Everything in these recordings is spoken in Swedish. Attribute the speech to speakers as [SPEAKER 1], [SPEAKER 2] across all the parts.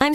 [SPEAKER 1] I'm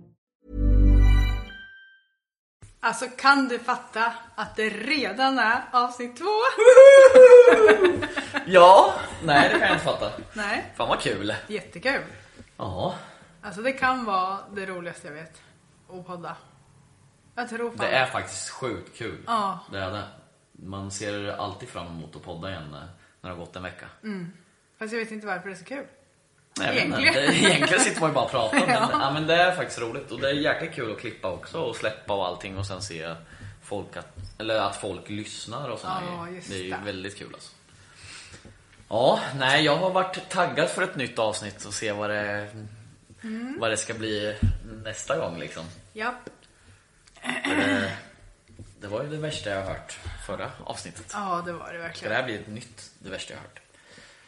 [SPEAKER 2] Alltså kan du fatta att det redan är avsnitt två?
[SPEAKER 3] Ja, nej det kan jag inte fatta.
[SPEAKER 2] Nej,
[SPEAKER 3] Fan vad kul.
[SPEAKER 2] jättekul.
[SPEAKER 3] Ja,
[SPEAKER 2] Alltså det kan vara det roligaste jag vet. Att podda. Jag tror fan
[SPEAKER 3] det är faktiskt sjukt kul.
[SPEAKER 2] Ja.
[SPEAKER 3] Det är det. Man ser alltid fram emot att podda igen eh, när det har gått en vecka.
[SPEAKER 2] Fast jag vet inte varför det är så kul.
[SPEAKER 3] Nej, jag vet inte.
[SPEAKER 2] Mm. Egentligen.
[SPEAKER 3] Det- Egentligen sitter man ju bara och pratar. Men, ja, men det är faktiskt roligt och det är jäkligt kul att klippa också och släppa och allting och sen se folk att, eller att folk lyssnar och sådana
[SPEAKER 2] Ja,
[SPEAKER 3] grejer.
[SPEAKER 2] just
[SPEAKER 3] Det är ju
[SPEAKER 2] det.
[SPEAKER 3] väldigt kul alltså. Ja, nej jag har varit taggad för ett nytt avsnitt och se vad det,
[SPEAKER 2] Mm.
[SPEAKER 3] vad det ska bli nästa gång liksom.
[SPEAKER 2] Ja,
[SPEAKER 3] Det var ju det värsta jag har hört förra avsnittet.
[SPEAKER 2] ja det var
[SPEAKER 3] Ska
[SPEAKER 2] det verkligen.
[SPEAKER 3] det här bli ett nytt, det värsta jag har hört?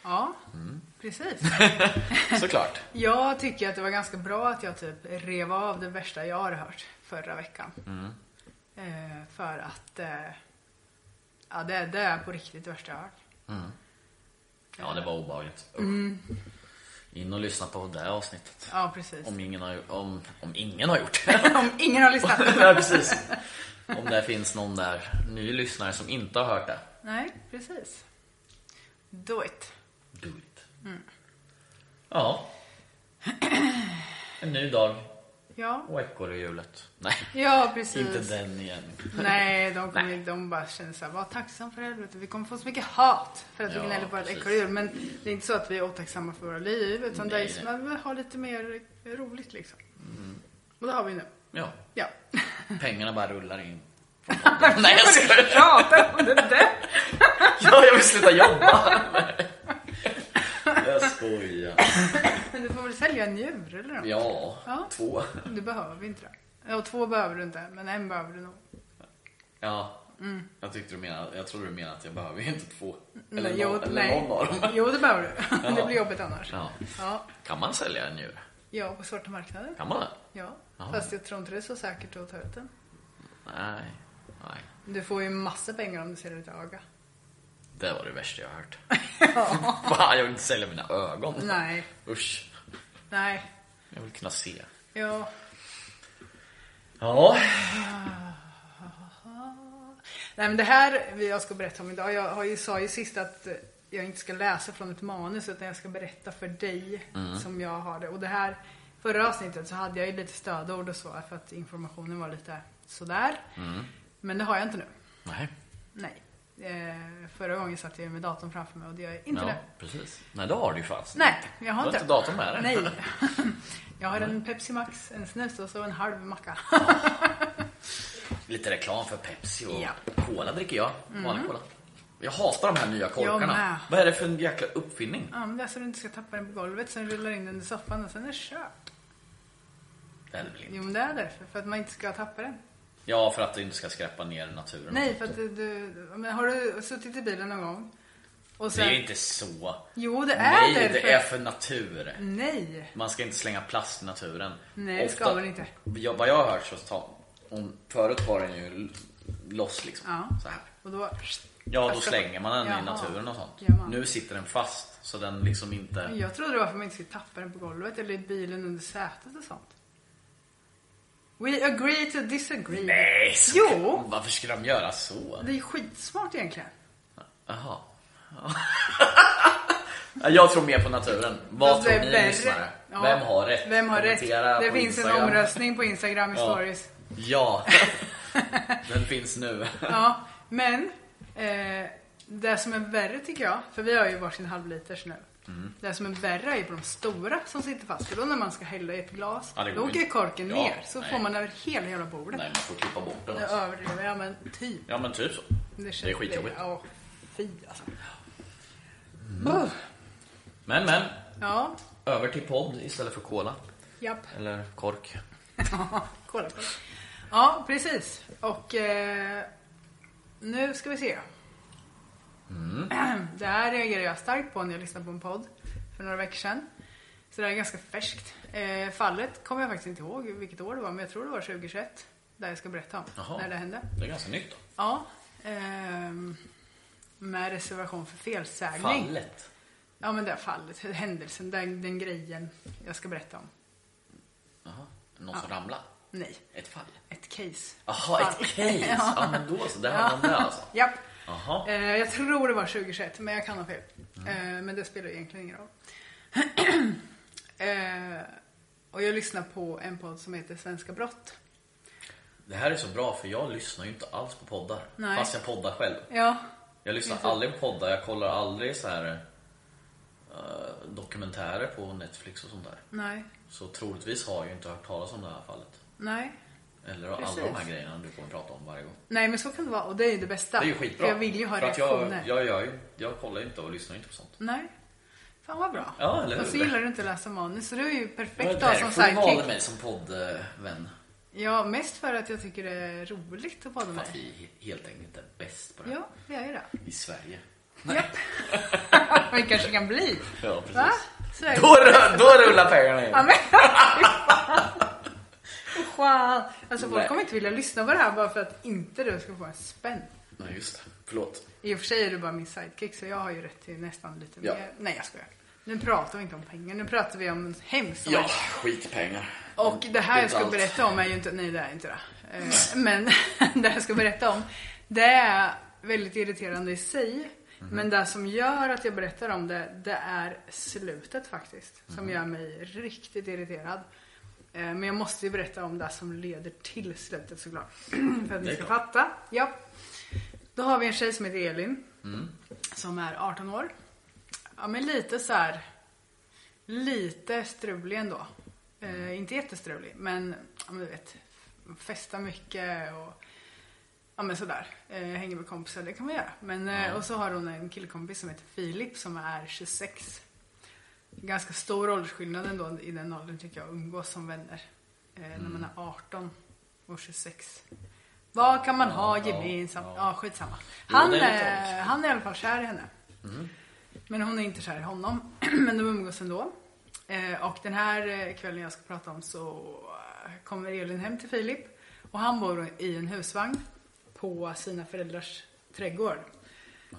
[SPEAKER 2] Ja,
[SPEAKER 3] Mm.
[SPEAKER 2] precis.
[SPEAKER 3] Såklart.
[SPEAKER 2] Jag tycker att det var ganska bra att jag typ rev av det värsta jag har hört förra veckan.
[SPEAKER 3] Mm.
[SPEAKER 2] Eh, för att eh, ja, det, det är på riktigt det värsta jag har hört.
[SPEAKER 3] Ja, det var obehagligt. Usch. In och lyssna på det här avsnittet.
[SPEAKER 2] Ja, precis.
[SPEAKER 3] Om ingen har, om, om ingen har gjort
[SPEAKER 2] Om ingen har lyssnat.
[SPEAKER 3] ja, precis. Om det finns någon där ny lyssnare som inte har hört det.
[SPEAKER 2] Nej, precis. Do it.
[SPEAKER 3] Do it. Ja. En ny dag
[SPEAKER 2] Ja,
[SPEAKER 3] och ekorrehjulet. Nej,
[SPEAKER 2] ja precis.
[SPEAKER 3] inte den igen.
[SPEAKER 2] Nej, de, kommer, de bara känner såhär, var tacksam för helvete. Vi kommer få så mycket hat för att
[SPEAKER 3] Ja,
[SPEAKER 2] vi gnäller på ett
[SPEAKER 3] precis.
[SPEAKER 2] ekorrhjul. Men det är inte så att vi är otacksamma för våra liv. Utan det är
[SPEAKER 3] Nej,
[SPEAKER 2] som
[SPEAKER 3] nej.
[SPEAKER 2] att vi har lite mer roligt liksom. Och det har vi nu.
[SPEAKER 3] Ja,
[SPEAKER 2] Ja.
[SPEAKER 3] pengarna bara rullar in. Nej, jag skojar.
[SPEAKER 2] Pratar om det där.
[SPEAKER 3] Ja, jag vill sluta jobba. Jag skojar.
[SPEAKER 2] Men du får väl sälja en djur eller något?
[SPEAKER 3] Ja,
[SPEAKER 2] Ja.
[SPEAKER 3] två.
[SPEAKER 2] Du behöver inte det. Ja, två behöver du inte, men en behöver du nog.
[SPEAKER 3] Ja. Jag tyckte du menade, jag trodde du menade att jag behöver ju inte två. Eller,
[SPEAKER 2] Mm, Nej,
[SPEAKER 3] någon, eller någon av dem.
[SPEAKER 2] Jo, det behöver du. Det blir jobbigt annars.
[SPEAKER 3] Ja.
[SPEAKER 2] Ja,
[SPEAKER 3] Kan man sälja en djur?
[SPEAKER 2] ja på svarta marknaden.
[SPEAKER 3] Kan man det?
[SPEAKER 2] Ja,
[SPEAKER 3] Ja.
[SPEAKER 2] fast jag tror inte det är så säkert att ta ut den.
[SPEAKER 3] Nej. Nej.
[SPEAKER 2] Du får ju massa pengar om du säljer ditt öga.
[SPEAKER 3] Det var det värsta jag har hört. Fan, jag vill inte sälja mina ögon.
[SPEAKER 2] Nej,
[SPEAKER 3] Usch.
[SPEAKER 2] nej,
[SPEAKER 3] Jag vill kunna se.
[SPEAKER 2] ja.
[SPEAKER 3] Ja.
[SPEAKER 2] Nej men det här jag ska berätta om idag. Jag har ju, sa ju sist att jag inte ska läsa från ett manus utan jag ska berätta för dig
[SPEAKER 3] Mm.
[SPEAKER 2] som jag har det. Och det här förra avsnittet så hade jag ju lite stödord och så för att informationen var lite sådär.
[SPEAKER 3] Mm.
[SPEAKER 2] Men det har jag inte nu.
[SPEAKER 3] Nej.
[SPEAKER 2] Nej. Eh, förra gången satt jag ju med datorn framför mig och det gör jag inte
[SPEAKER 3] Ja,
[SPEAKER 2] nu.
[SPEAKER 3] precis. Nej, det har du ju fast.
[SPEAKER 2] Nej, jag har
[SPEAKER 3] Du
[SPEAKER 2] inte.
[SPEAKER 3] har inte datorn med dig.
[SPEAKER 2] Nej. Jag har en Pepsi Max, en snus och så en halv macka.
[SPEAKER 3] Lite reklam för Pepsi och
[SPEAKER 2] Ja. Mhm.
[SPEAKER 3] Cola dricker jag. Vanlig Cola. Jag hatar de här nya korkarna.
[SPEAKER 2] med.
[SPEAKER 3] Vad är det för en jäkla uppfinning?
[SPEAKER 2] Ja, men det är så du inte ska tappa den på golvet, sen rullar du in den i soffan och sen är det kört.
[SPEAKER 3] Det är det väl inte.
[SPEAKER 2] Jo, men det är därför. För att man inte ska tappa den.
[SPEAKER 3] Ja, för att du inte ska skräpa ner naturen.
[SPEAKER 2] Nej, för att du... du men har du suttit i bilen någon gång? Och
[SPEAKER 3] Det
[SPEAKER 2] sen,
[SPEAKER 3] är ju inte så.
[SPEAKER 2] Jo, det är
[SPEAKER 3] Nej,
[SPEAKER 2] därför.
[SPEAKER 3] det är för natur.
[SPEAKER 2] Nej!
[SPEAKER 3] Man ska inte slänga plast i naturen.
[SPEAKER 2] Nej, det ska man inte.
[SPEAKER 3] Jag, vad jag har hört så ta, om, förut var den ju l- loss liksom.
[SPEAKER 2] Ja.
[SPEAKER 3] Så här.
[SPEAKER 2] Och då...
[SPEAKER 3] Ja, då
[SPEAKER 2] Alltså,
[SPEAKER 3] slänger man den
[SPEAKER 2] jaha.
[SPEAKER 3] i naturen och sånt.
[SPEAKER 2] Gör man.
[SPEAKER 3] Nu sitter den fast så den liksom inte...
[SPEAKER 2] Jag trodde det var för att man inte skulle tappa den på golvet eller i bilen under sätet och sånt. We agree to disagree.
[SPEAKER 3] Nej! Så,
[SPEAKER 2] Jo.
[SPEAKER 3] Varför skulle de göra så?
[SPEAKER 2] Det är ju skitsmart egentligen.
[SPEAKER 3] Jaha. Ja. jag tror mer på naturen. Vad
[SPEAKER 2] Fast det
[SPEAKER 3] tror ni
[SPEAKER 2] är värre.
[SPEAKER 3] lyssnare?
[SPEAKER 2] Ja.
[SPEAKER 3] Vem har rätt?
[SPEAKER 2] Vem har rätt?
[SPEAKER 3] Kommentera
[SPEAKER 2] Det
[SPEAKER 3] på
[SPEAKER 2] finns en
[SPEAKER 3] Instagram.
[SPEAKER 2] omröstning på Instagram i
[SPEAKER 3] Ja.
[SPEAKER 2] stories.
[SPEAKER 3] Ja. Den finns nu.
[SPEAKER 2] Ja, men eh, det som är värre tycker jag, för vi har ju varsin halvliters nu.
[SPEAKER 3] Mm.
[SPEAKER 2] Det som är värre är på de stora som sitter fast. För då när man ska hälla i ett glas,
[SPEAKER 3] Ja, det
[SPEAKER 2] då
[SPEAKER 3] går
[SPEAKER 2] åker
[SPEAKER 3] inte.
[SPEAKER 2] korken
[SPEAKER 3] Ja,
[SPEAKER 2] ner. Så
[SPEAKER 3] nej.
[SPEAKER 2] får man över hela jävla bordet.
[SPEAKER 3] Nej, man får klippa bort den.
[SPEAKER 2] Nu
[SPEAKER 3] Alltså.
[SPEAKER 2] överdriver jag, men typ.
[SPEAKER 3] Ja men typ så. Det är
[SPEAKER 2] känns-
[SPEAKER 3] skitjobbigt.
[SPEAKER 2] Ja, fy alltså.
[SPEAKER 3] Men men,
[SPEAKER 2] Ja,
[SPEAKER 3] över till podd istället för cola.
[SPEAKER 2] japp.
[SPEAKER 3] Eller kork.
[SPEAKER 2] Kolla på det. Ja, precis. Och eh, nu ska vi se.
[SPEAKER 3] Mm.
[SPEAKER 2] Det här reagerar jag starkt på när jag lyssnade på en podd för några veckor sedan. Så det här är ganska färskt. Eh, fallet kommer jag faktiskt inte ihåg vilket år det var, men jag tror det var 2021. Där jag ska berätta om
[SPEAKER 3] Jaha.
[SPEAKER 2] när det hände.
[SPEAKER 3] Det är ganska nytt då.
[SPEAKER 2] Ja. ehm, med reservation för felsägning.
[SPEAKER 3] Fallet.
[SPEAKER 2] Ja, men det här fallet, händelsen, den, den grejen jag ska berätta om.
[SPEAKER 3] Jaha. Någon som ramlade.
[SPEAKER 2] Nej,
[SPEAKER 3] Ett fall.
[SPEAKER 2] ett case.
[SPEAKER 3] Jaha, ett
[SPEAKER 2] Fall.
[SPEAKER 3] case. Ja. men då så. Det här var det alltså.
[SPEAKER 2] Japp.
[SPEAKER 3] Jaha.
[SPEAKER 2] Eh, jag tror det var 2021, men jag kan ha fel.
[SPEAKER 3] Mm.
[SPEAKER 2] Eh, men det spelar egentligen ingen roll. eh, och jag lyssnar på en podd som heter Svenska Brott.
[SPEAKER 3] Det här är så bra för jag lyssnar ju inte alls på poddar.
[SPEAKER 2] Nej.
[SPEAKER 3] Fast jag poddar själv.
[SPEAKER 2] Ja,
[SPEAKER 3] Jag lyssnar aldrig på poddar, jag kollar aldrig så här eh, dokumentärer på Netflix och sånt där.
[SPEAKER 2] nej,
[SPEAKER 3] Så troligtvis har jag ju inte hört talas om det här fallet.
[SPEAKER 2] nej.
[SPEAKER 3] Eller alla
[SPEAKER 2] Precis.
[SPEAKER 3] de här grejerna du kommer prata om varje gång.
[SPEAKER 2] Nej, men så kan det vara. Och det är ju det bästa.
[SPEAKER 3] Det är ju skitbra.
[SPEAKER 2] Jag vill ju ha
[SPEAKER 3] För att jag,
[SPEAKER 2] reaktioner.
[SPEAKER 3] jag, gör ju, jag kollar ju inte och lyssnar inte på sånt.
[SPEAKER 2] Nej. Fan vad bra.
[SPEAKER 3] Ja, eller
[SPEAKER 2] och så
[SPEAKER 3] hur?
[SPEAKER 2] gillar du inte att läsa manus, så du är ju perfekt
[SPEAKER 3] Det
[SPEAKER 2] att ha
[SPEAKER 3] var
[SPEAKER 2] som
[SPEAKER 3] därför du valde
[SPEAKER 2] sidekick.
[SPEAKER 3] mig som poddvän.
[SPEAKER 2] Ja, mest för att jag tycker det är roligt att podda
[SPEAKER 3] För
[SPEAKER 2] med
[SPEAKER 3] att
[SPEAKER 2] dig.
[SPEAKER 3] vi he- helt enkelt är bäst på det här.
[SPEAKER 2] Ja, vi är ju det.
[SPEAKER 3] I Sverige.
[SPEAKER 2] Japp. Vi kanske kan bli.
[SPEAKER 3] Ja, precis.
[SPEAKER 2] Va? Så är det.
[SPEAKER 3] Då, rö- då rullar pengarna
[SPEAKER 2] Ja,
[SPEAKER 3] in.
[SPEAKER 2] men, fy fan. Wow. Alltså folk
[SPEAKER 3] Nej.
[SPEAKER 2] kommer inte vilja lyssna på det här bara för att inte du ska få en spänn.
[SPEAKER 3] Nej, just det. Förlåt.
[SPEAKER 2] I och för sig är du bara min sidekick så jag har ju rätt till nästan lite
[SPEAKER 3] Ja.
[SPEAKER 2] mer. Nej jag skojar. Nu pratar vi inte om pengar, nu pratar vi om en hemsk
[SPEAKER 3] Ja,
[SPEAKER 2] sak.
[SPEAKER 3] skitpengar.
[SPEAKER 2] Och det här jag
[SPEAKER 3] Mm. Inte
[SPEAKER 2] ska
[SPEAKER 3] allt.
[SPEAKER 2] berätta om är ju inte, nej det är inte det. Eh, Men det jag ska berätta om, det är väldigt irriterande i sig.
[SPEAKER 3] Mhm.
[SPEAKER 2] Men det som gör att jag berättar om det, det är slutet faktiskt. Som
[SPEAKER 3] Mhm.
[SPEAKER 2] gör mig riktigt irriterad. Eh, Men jag måste ju berätta om det som leder till slutet såklart. För att
[SPEAKER 3] Det är
[SPEAKER 2] ni ska
[SPEAKER 3] klart.
[SPEAKER 2] fatta. Ja. Då har vi en tjej som heter Elin.
[SPEAKER 3] Mm.
[SPEAKER 2] Som är 18 år. Ja men lite så här. Lite strulig ändå. Eh, inte jättestrulig, men ja, men du vet. Festa mycket och ja, men sådär. Eh, hänger med kompisar, det kan man göra. Men, eh, Och så har hon en killkompis som heter Filip som är 26. Ganska stor åldersskillnad ändå i den åldern tycker jag, att umgås som vänner. Eh, När
[SPEAKER 3] Mm.
[SPEAKER 2] man är 18 och 26. Vad kan man ha
[SPEAKER 3] ja,
[SPEAKER 2] gemensamt? Ja,
[SPEAKER 3] ja.
[SPEAKER 2] skitsamma.
[SPEAKER 3] Jo,
[SPEAKER 2] Han,
[SPEAKER 3] det är Mm. lite
[SPEAKER 2] är han är i alla fall kär i henne. Men hon är inte kär i honom. Men de umgås ändå. Eh, Och den här eh, kvällen jag ska prata om så eh, kommer Elin hem till Filip. Och han bor i en husvagn på sina föräldrars trädgård.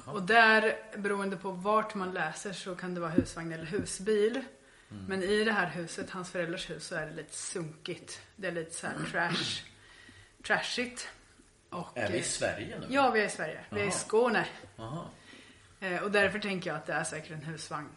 [SPEAKER 2] Och där, beroende på vart man läser, så kan det vara husvagn eller husbil.
[SPEAKER 3] Mm.
[SPEAKER 2] Men i det här huset, hans föräldrars hus, så är det lite sunkigt. Det är lite så här trash, trashigt. Och,
[SPEAKER 3] Mm. Är vi i
[SPEAKER 2] eh,
[SPEAKER 3] Sverige nu?
[SPEAKER 2] Ja, vi är i Sverige. Vi är i
[SPEAKER 3] Jaha.
[SPEAKER 2] Skåne.
[SPEAKER 3] Jaha.
[SPEAKER 2] Eh, Och därför tänker jag att det är säkert en husvagn.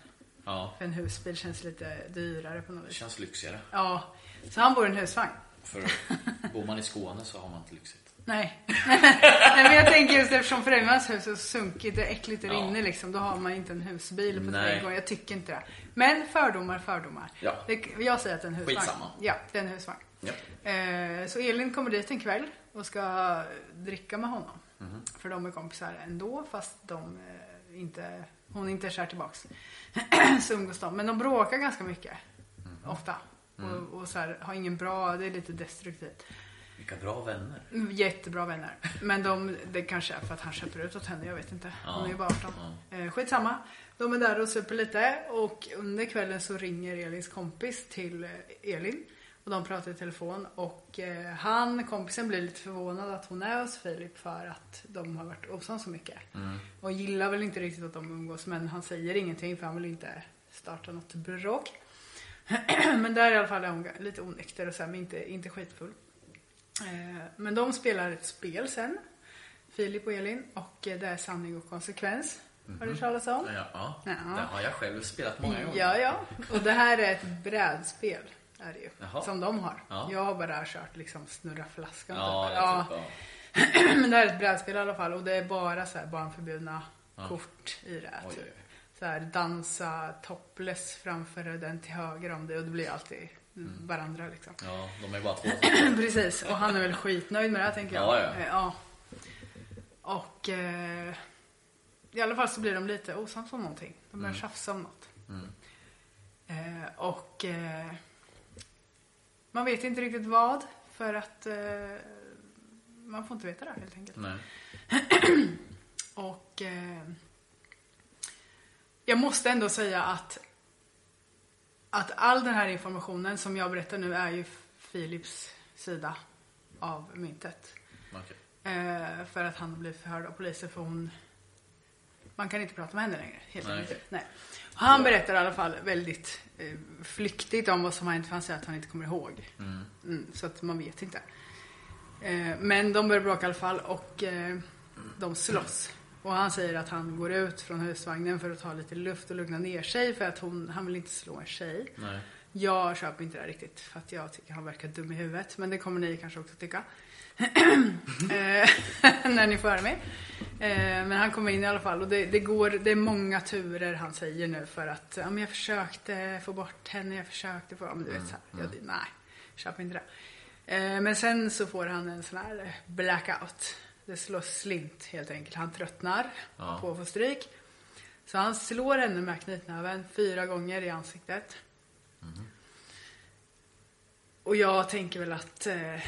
[SPEAKER 3] Ja.
[SPEAKER 2] För en husbil känns lite dyrare på något
[SPEAKER 3] Det
[SPEAKER 2] vis.
[SPEAKER 3] känns lyxigare.
[SPEAKER 2] Ja, så han bor i en husvagn.
[SPEAKER 3] För bor man i Skåne så har man inte lyxigt.
[SPEAKER 2] Nej. Nej, men jag tänker just eftersom föräldrarnas hus är så sunkigt, det är äckligt där
[SPEAKER 3] Ja.
[SPEAKER 2] inne liksom. Då har man inte en husbil på
[SPEAKER 3] Nej.
[SPEAKER 2] trädgården. Jag tycker inte det. Men fördomar, fördomar.
[SPEAKER 3] Ja.
[SPEAKER 2] Det- Jag säger att det är en husvagn.
[SPEAKER 3] Skitsamma.
[SPEAKER 2] Ja, det är en husvagn.
[SPEAKER 3] Ja.
[SPEAKER 2] Eh, Så Elin kommer dit en kväll och ska dricka med honom.
[SPEAKER 3] Mhm.
[SPEAKER 2] För de är kompisar ändå fast de eh, inte, hon inte är kär tillbaks. så umgås de. Men de bråkar ganska mycket.
[SPEAKER 3] Mhm.
[SPEAKER 2] Ofta.
[SPEAKER 3] Mm.
[SPEAKER 2] Och, och så här, har ingen bra, det är lite destruktivt.
[SPEAKER 3] Vilka bra vänner.
[SPEAKER 2] Mm. Jättebra vänner. Men de, det kanske är för att han köper ut åt henne, jag vet inte. Hon
[SPEAKER 3] Ja.
[SPEAKER 2] är ju bara 18. Eh, skitsamma. De är där och super lite och under kvällen så ringer Elins kompis till eh, Elin. Och de pratar i telefon och eh, han, kompisen blir lite förvånad att hon är hos Filip för att de har varit osams så mycket. Och gillar väl inte riktigt att de umgås men han säger ingenting för han vill inte starta något bråk. men där i alla fall är hon lite onykter och så här, men inte, inte skitfull. Eh, Men de spelar ett spel sen, Filip och Elin, och eh, det är sanning och konsekvens. Har du hört talas om?
[SPEAKER 3] Mhm. Ja, ja.
[SPEAKER 2] Ja.
[SPEAKER 3] det har jag själv spelat många gånger.
[SPEAKER 2] Ja, ja. Och det här är ett brädspel. Är det ju,
[SPEAKER 3] Jaha.
[SPEAKER 2] som de har.
[SPEAKER 3] Ja.
[SPEAKER 2] Jag har bara kört liksom snurra flaskan.
[SPEAKER 3] Ja,
[SPEAKER 2] typ.
[SPEAKER 3] jag typ,
[SPEAKER 2] Men det här är ett brädspel i alla fall och det är bara så här barnförbjudna kort i det.
[SPEAKER 3] Oj,
[SPEAKER 2] Typ.
[SPEAKER 3] oj, oj.
[SPEAKER 2] Så här, dansa topless framför den till höger om dig och det blir alltid
[SPEAKER 3] Mm.
[SPEAKER 2] varandra liksom.
[SPEAKER 3] ja, de är bara två.
[SPEAKER 2] Precis, och han är väl skitnöjd med det här tänker jag.
[SPEAKER 3] Ja, ja.
[SPEAKER 2] Eh, ja. Och eh, i alla fall så blir de lite osams om någonting. De
[SPEAKER 3] Mm.
[SPEAKER 2] börjar tjafsa om något. Eh, och eh, man vet inte riktigt vad för att eh, man får inte veta det här, helt enkelt.
[SPEAKER 3] Nej.
[SPEAKER 2] Och eh, jag måste ändå säga att, att all den här informationen som jag berättar nu är ju Philips sida av myntet.
[SPEAKER 3] Okej.
[SPEAKER 2] Eh, för att han blev förhörd av polisen för hon... Man kan inte prata med henne längre. Helt
[SPEAKER 3] Nej,
[SPEAKER 2] enkelt.
[SPEAKER 3] okej.
[SPEAKER 2] Nej. Och Han berättar i alla fall väldigt eh, flyktigt om vad som har hänt för han säger att han inte kommer ihåg. Mm, så att man vet inte. Eh, men de börjar bråka i alla fall och eh, de slåss. Och han säger att han går ut från husvagnen för att ta lite luft och lugna ner sig för att hon, han vill inte slå en tjej.
[SPEAKER 3] Nej.
[SPEAKER 2] Jag köper inte det här riktigt för att jag tycker han verkar dum i huvudet. Men det kommer ni kanske också tycka. Eh, när ni får höra mig. Eh, Men han kommer in i alla fall och det, det, går, det är många turer han säger nu för att ja, men jag försökte få bort henne, jag försökte få... Ja, men du vet, så här, jag, nej, köper inte det. Eh, Men sen så får han en sån här blackout. Det slår slint helt enkelt. Han tröttnar
[SPEAKER 3] Ja.
[SPEAKER 2] på att få stryk. Så han slår henne med knytnäven fyra gånger i ansiktet. Och jag tänker väl att... Eh,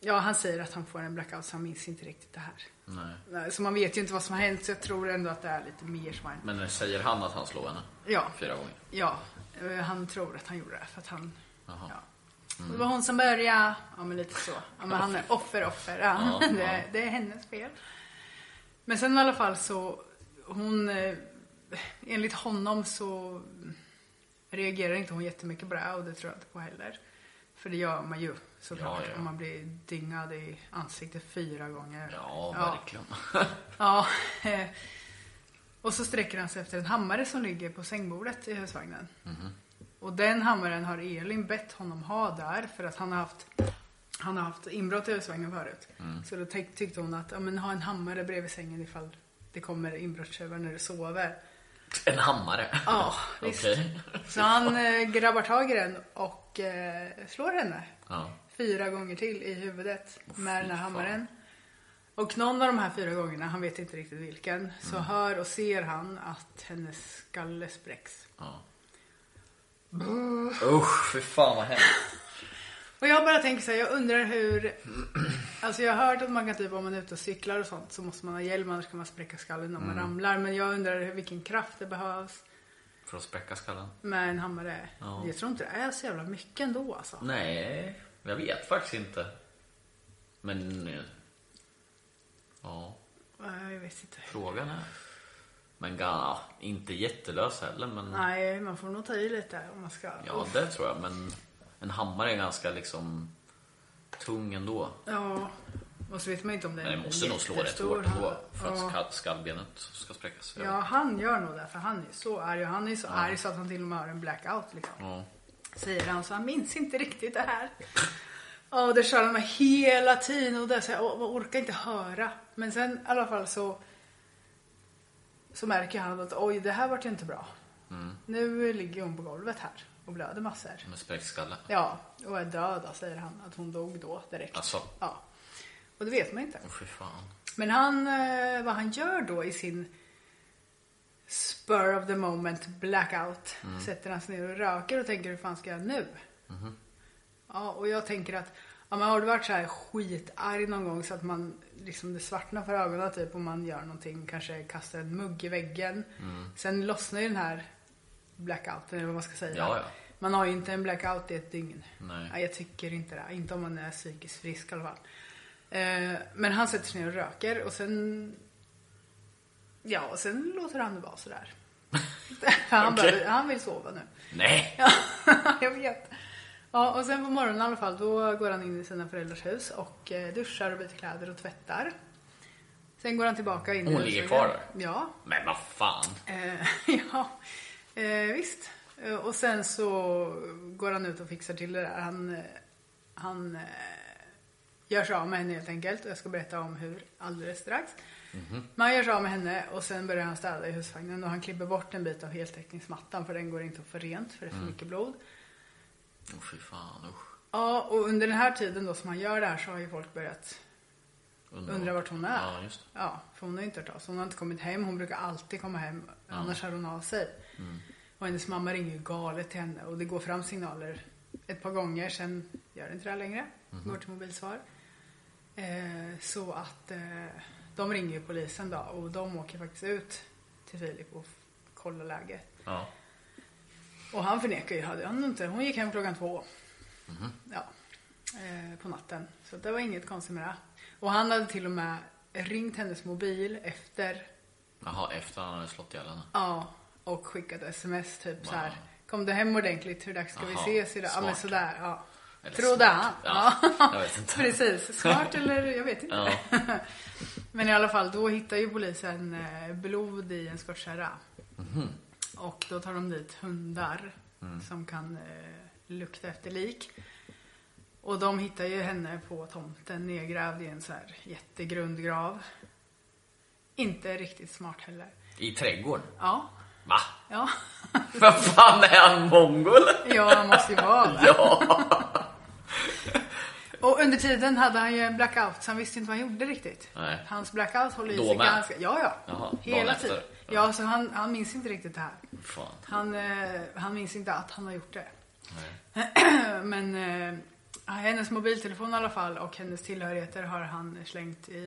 [SPEAKER 2] ja, han säger att han får en blackout så han minns inte riktigt det här.
[SPEAKER 3] Nej.
[SPEAKER 2] Nej, Så man vet ju inte vad som har hänt så jag tror ändå att det är lite mer som har hänt.
[SPEAKER 3] Men säger han att han slår henne?
[SPEAKER 2] Ja,
[SPEAKER 3] Fyra gånger?
[SPEAKER 2] ja, eh, han tror att han gjorde det för att han...
[SPEAKER 3] Jaha. Mm.
[SPEAKER 2] Ja. Det var hon som började. Ja, men lite så. Ja, men han är offer, offer. Ja,
[SPEAKER 3] Ja,
[SPEAKER 2] det,
[SPEAKER 3] ja.
[SPEAKER 2] är- det är hennes fel. Men sen i alla fall så, hon... eh, Enligt honom så reagerar inte hon jättemycket på det här, och det tror jag inte på heller. För det gör man ju såklart
[SPEAKER 3] Ja, ja.
[SPEAKER 2] om man blir dyngad i ansiktet fyra gånger.
[SPEAKER 3] Ja, verkligen.
[SPEAKER 2] Ja. eh, Och så sträcker han sig efter en hammare som ligger på sängbordet i husvagnen. Och den hammaren har Elin bett honom ha där för att han har haft, han har haft inbrott i husvagnen förut. Så då tyck- tyckte hon att ja, men ha en hammare bredvid sängen ifall det kommer inbrottstjuvar när du sover.
[SPEAKER 3] En hammare?
[SPEAKER 2] Ja, visst.
[SPEAKER 3] Okej.
[SPEAKER 2] Så han eh, grabbar tag i den och eh, slår henne
[SPEAKER 3] Ja.
[SPEAKER 2] fyra gånger till i huvudet med den här
[SPEAKER 3] fan.
[SPEAKER 2] hammaren. Och någon av de här fyra gångerna, han vet inte riktigt vilken, så
[SPEAKER 3] Mm.
[SPEAKER 2] hör och ser han att hennes skalle spräcks.
[SPEAKER 3] ja. Usch, fy fan vad hemskt.
[SPEAKER 2] Och jag bara tänker så här, jag undrar hur... Alltså jag har hört att man kan typ om man är ute och cyklar och sånt så måste man ha hjälm annars kan man spräcka skallen om
[SPEAKER 3] Mm.
[SPEAKER 2] man ramlar. Men jag undrar hur, vilken kraft det behövs
[SPEAKER 3] För att spräcka skallen?
[SPEAKER 2] med en hammare.
[SPEAKER 3] Ja.
[SPEAKER 2] Jag tror inte det är så jävla mycket ändå alltså.
[SPEAKER 3] Nej, jag vet faktiskt inte. Men... eh, Ja,
[SPEAKER 2] Nej, Jag vet inte.
[SPEAKER 3] frågan är... Men Ghana, inte jättelös heller men...
[SPEAKER 2] Nej, man får nog ta i lite om man ska.
[SPEAKER 3] Ja, det tror jag. Men en hammare är ganska liksom tung ändå.
[SPEAKER 2] Ja, och så vet man inte om det är
[SPEAKER 3] Men det
[SPEAKER 2] en
[SPEAKER 3] måste nog slå rätt
[SPEAKER 2] jättestor
[SPEAKER 3] hårt
[SPEAKER 2] hand.
[SPEAKER 3] ändå för att
[SPEAKER 2] ja.
[SPEAKER 3] skall- skallbenet ska spräckas.
[SPEAKER 2] ja, han gör nog det för han är så arg och han är så arg så att han till och med har en blackout liksom.
[SPEAKER 3] Ja.
[SPEAKER 2] Säger han så han minns inte riktigt det här. Ja, och det kör de med hela tiden och det är så här, "Åh, man orkar inte höra. Men sen i alla fall så så märker han att oj, det här vart ju inte bra.
[SPEAKER 3] Mm.
[SPEAKER 2] Nu ligger hon på golvet här och blöder massor.
[SPEAKER 3] Med spräckt skalle.
[SPEAKER 2] Ja, och är död då, säger han. Att hon dog då direkt.
[SPEAKER 3] Alltså.
[SPEAKER 2] Ja. Och det vet man inte.
[SPEAKER 3] Åh, Fy fan.
[SPEAKER 2] Men han, eh, vad han gör då i sin spur of the moment blackout.
[SPEAKER 3] Mm.
[SPEAKER 2] Sätter han sig ner och röker och tänker hur fan ska jag nu?
[SPEAKER 3] Mm-hmm.
[SPEAKER 2] Ja, och jag tänker att ja, men har du varit så här skitarg någon gång så att man liksom det svartnar för ögonen typ om man gör någonting, kanske kastar en mugg i väggen.
[SPEAKER 3] Mm.
[SPEAKER 2] Sen lossnar ju den här blackouten eller vad man ska säga.
[SPEAKER 3] Ja, ja.
[SPEAKER 2] Man har ju inte en blackout i ett dygn.
[SPEAKER 3] Nej.
[SPEAKER 2] Ja, jag tycker inte det. Inte om man är psykiskt frisk i alla fall. Eh, men han sätter sig ner och röker och sen... Ja, och sen låter han det vara sådär. han,
[SPEAKER 3] Okej.
[SPEAKER 2] bara, han vill sova nu.
[SPEAKER 3] Nej!
[SPEAKER 2] Ja, jag vet. Ja, och sen på morgonen i alla fall, då går han in i sina föräldrars hus och eh, duschar och byter kläder och tvättar. Sen går han tillbaka in i
[SPEAKER 3] Hon ligger kvar
[SPEAKER 2] där? Ja,
[SPEAKER 3] Men vad fan.
[SPEAKER 2] Eh, ja, eh, visst. Eh, och sen så går han ut och fixar till det där. Han, eh, han eh, gör sig av med henne helt enkelt. Och jag ska berätta om hur alldeles strax. Men han gör sig av med henne och sen börjar han städa i husvagnen. Och han klipper bort en bit av heltäckningsmattan för den går inte att få rent för det är för mycket blod.
[SPEAKER 3] Åh fy fan, usch.
[SPEAKER 2] Ja, och under den här tiden då som han gör det här så har ju folk börjat Undrar vart hon är.
[SPEAKER 3] Ja, just det.
[SPEAKER 2] Ja, för hon har inte hört av sig. Hon har inte kommit hem. Hon brukar alltid komma hem. Annars hör hon av sig. Och hennes mamma ringer ju galet till henne. Och det går fram signaler ett par gånger. Sen gör det inte det här längre. Går till mobilsvar. Eh, så att eh, de ringer ju polisen då. Och de åker faktiskt ut till Filip och f- kollar läget.
[SPEAKER 3] Ja.
[SPEAKER 2] Och han förnekar ju, hade han inte. Hon gick hem klockan två. Ja, eh, på natten. Så det var inget konstigt med det. Och han hade till och med ringt hennes mobil efter,
[SPEAKER 3] Jaha, efter han hade slått ihjäl henne.
[SPEAKER 2] ja, och skickat sms typ så
[SPEAKER 3] Wow.
[SPEAKER 2] här. Kom du hem ordentligt? Hur dags ska vi
[SPEAKER 3] Aha,
[SPEAKER 2] ses idag? Ja men
[SPEAKER 3] smart.
[SPEAKER 2] sådär, ja.
[SPEAKER 3] Eller
[SPEAKER 2] Trodde
[SPEAKER 3] smart.
[SPEAKER 2] han.
[SPEAKER 3] Ja, jag vet inte.
[SPEAKER 2] Precis. Smart eller, jag vet inte.
[SPEAKER 3] Ja.
[SPEAKER 2] Men i alla fall, då hittar ju polisen eh, blod i en skottkärra.
[SPEAKER 3] Mhm.
[SPEAKER 2] Och då tar de dit hundar
[SPEAKER 3] Mm.
[SPEAKER 2] som kan eh, lukta efter lik. Och de hittar ju henne på tomten nedgrävd i en så här jättegrund grav. Inte riktigt smart heller.
[SPEAKER 3] I trädgården?
[SPEAKER 2] Ja,
[SPEAKER 3] Va?
[SPEAKER 2] ja.
[SPEAKER 3] Vad fan är han mongol?
[SPEAKER 2] Ja, han måste ju vara där.
[SPEAKER 3] Ja.
[SPEAKER 2] Och under tiden hade han ju en blackout så han visste inte vad han gjorde riktigt.
[SPEAKER 3] Nej.
[SPEAKER 2] Hans blackout håller i
[SPEAKER 3] Då
[SPEAKER 2] sig
[SPEAKER 3] med?
[SPEAKER 2] ganska... Ja, ja.
[SPEAKER 3] Jaha, dagen
[SPEAKER 2] Hela
[SPEAKER 3] efter.
[SPEAKER 2] tiden.
[SPEAKER 3] Ja.
[SPEAKER 2] Ja, så han, han minns inte riktigt det här.
[SPEAKER 3] Fan.
[SPEAKER 2] Han, eh, han minns inte att han har gjort det. Men eh, hennes mobiltelefon i alla fall och hennes tillhörigheter har han slängt i